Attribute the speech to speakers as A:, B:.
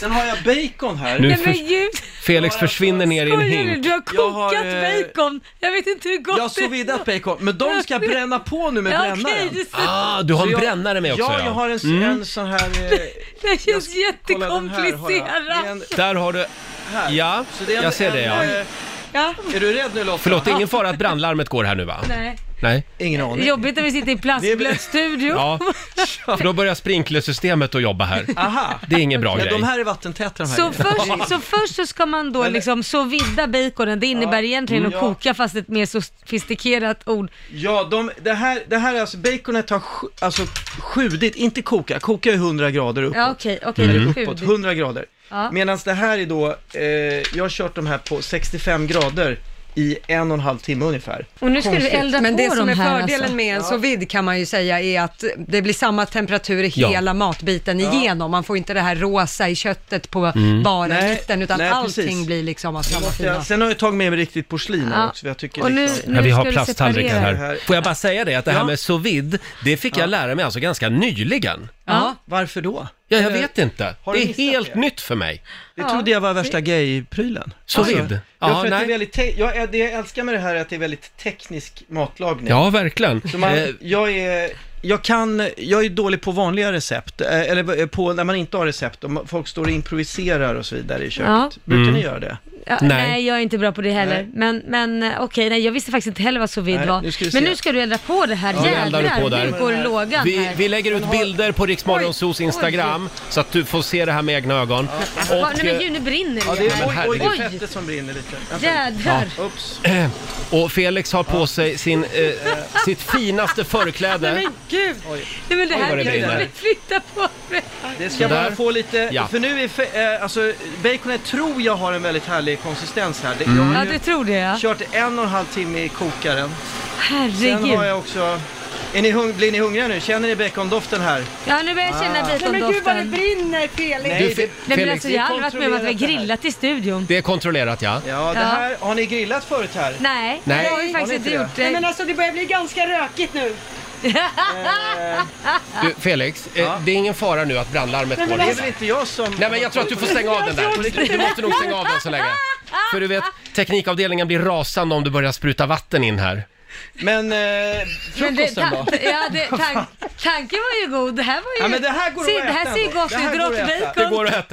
A: Sen har jag bacon här.
B: Nu
C: Nej men
B: förs-
C: gud,
B: Felix försvinner ner i en
C: skojar du?
B: hink.
C: Du har kokat
A: Jag har, eh,
C: bacon! Jag vet inte hur gott
A: Jag har sous vide bacon, men de ska jag bränna på nu med
C: Ja, okej,
A: brännaren.
C: det, ser-
B: Ah, du har
A: Så
B: en
A: jag-
B: brännare med också Mm.
A: Ja, jag har en, en sån här... eh,
C: det känns
A: kolla, den här har jag.
C: jättekomplicerat.
A: Det är en-
B: Där har du...
A: här.
B: Ja,
A: Så det är en-
B: jag ser det ja.
A: en, eh,
C: Ja,
A: Är du rädd nu Lotta?
B: Förlåt, det är ingen fara att brandlarmet går här nu va?
C: nej.
B: Nej.
A: Ingen aning.
C: Jobbigt när vi sitter i plastblöt studio.
B: Ja, för då börjar sprinklersystemet att jobba här.
A: Aha.
B: Det är ingen bra
A: Ja,
B: grej.
A: de här är vattentäta de här.
C: Så
A: grejerna.
C: först, så först så ska man då
A: Men-
C: liksom så vidda baconen, det innebär
A: Ja.
C: egentligen att
A: Mm.
C: koka fast ett mer sofistikerat ord.
A: Ja, de, det, här, det här är alltså, baconet har sju- alltså sjudit, inte koka, koka är 100 grader uppåt.
C: Ja okej, okej, det är
A: Mm. uppåt,
C: sjudigt.
A: 100 grader.
C: Ja.
A: Medan det här är då, eh, jag har kört de här på 65 grader i en och en halv timme ungefär.
C: Och nu ska du elda
D: Men
C: på
D: det som
C: de
D: är
C: här
D: fördelen
C: alltså.
D: med en sous vide kan man ju säga är att det blir samma temperatur i
B: Ja.
D: hela matbiten igenom. Man får inte det här rosa i köttet på bara
A: Mm. Nej,
D: mitten, utan
A: nej,
D: allting
A: precis.
D: blir liksom av samma
A: Ja,
D: fina.
A: sen har jag tagit med mig riktigt porslin här
C: Ja.
A: också, för jag tycker
C: Och nu,
A: liksom...
C: nu
B: Ja, vi
C: ska
B: har
C: du
B: plasttallrikar
C: separera.
B: här. Får jag bara säga det, att det här
A: Ja.
B: med sous vide, det fick jag lära mig alltså ganska nyligen.
C: Ja.
A: Varför då?
B: Ja, jag vet inte.
A: Eh, Har
B: Det
A: du
B: är
A: missat
B: helt
A: det?
B: nytt för mig.
A: Det trodde jag var värsta gay-prylen.
B: Sous
A: Alltså,
B: vide?
A: Ja,
B: Ja,
A: för att det är
B: nej.
A: väldigt te- jag, är- det jag älskar med det här är att det är väldigt teknisk matlagning.
B: Ja, verkligen.
A: Så man,
B: Eh,
A: jag, är, jag, kan, jag är dålig på vanliga recept, eh, eller på, när man inte har recept, om folk står och improviserar och så vidare i köket.
C: Ja.
A: Brukar
B: Mm.
A: ni göra det?
C: Ja,
B: Nej.
C: nej. jag är inte bra på det heller.
A: Nej.
C: Men, men eh, okej, nej, jag visste faktiskt inte heller vad sous vide
A: Nej,
C: var.
A: nu ska vi se.
C: men nu ska du elda på det här.
B: Ja, nu eldar du
C: Jädrar,
B: på där.
C: nu går lågan
B: Vi,
C: här.
B: vi lägger ut bilder på Riksmorgonsos
C: Oj, oj.
B: Instagram så att du får se det här med egna ögon.
C: Va,
B: Och, eh,
C: nej men gud, nu brinner det.
A: eh, Ja, det
B: men
A: är, oj, oj, det är
C: herregud.
A: fettet som brinner lite. Vänta.
C: Jädrar.
A: Ups.
B: eh, och Felix har på sig sin, eh, sitt finaste
C: Nej
B: förkläde.
C: men gud.
A: Oj.
C: Nej men det
B: Oj,
C: här
B: vad det
C: vill
B: brinner.
C: jag inte flytta på mig.
A: Det ska
B: Sådär.
A: bara få lite,
B: Ja.
A: för nu är, fe- eh, alltså baconet tror jag har en väldigt härlig konsistens här. Det,
B: Mm.
A: Jag
C: Ja
A: har
C: du
A: ju
C: tror det ja.
A: kört en och en halv timme i kokaren. Sen har
C: Herregud.
A: jag också, är ni hung- blir ni hungriga nu? Känner ni bacondoften här?
C: Ja nu börjar jag
A: Ah.
C: känna bacondoften.
D: brinner Felix!
B: Du, Fe-
C: Nej men
B: Felix,
C: alltså jag har aldrig varit med om att vi har
A: kontrollerat det här.
C: grillat i studion.
B: det är kontrollerat ja.
A: Ja, det
C: Ja.
A: här, har ni grillat förut här?
C: Nej,
B: Nej.
C: det har
A: Har
C: vi faktiskt
A: ni
C: inte
A: inte
C: gjort.
D: Nej,
C: Nej,
D: men alltså det börjar bli ganska rökigt nu.
B: Du, Felix, eh,
A: Ja.
B: det är ingen fara nu att brandlarmet går.
A: Det är
B: ner.
C: alltså-
A: väl inte jag som...
B: Nej men jag tror att du får stänga av den där. Du måste nog stänga av den så länge. För du vet, teknikavdelningen blir rasande om du börjar spruta vatten in här.
A: Men eh,
C: Men det,
A: frukosten då?
C: ta- ja, det, tank, tanken var ju god. Det här var ju...
A: Ja, men det här går att
C: se, det
A: äta
C: här ser ju
A: ändå.
C: gott
A: Det
C: ut.
A: här går att
C: Grått
A: äta.
B: Det
C: bacon.
B: går att äta.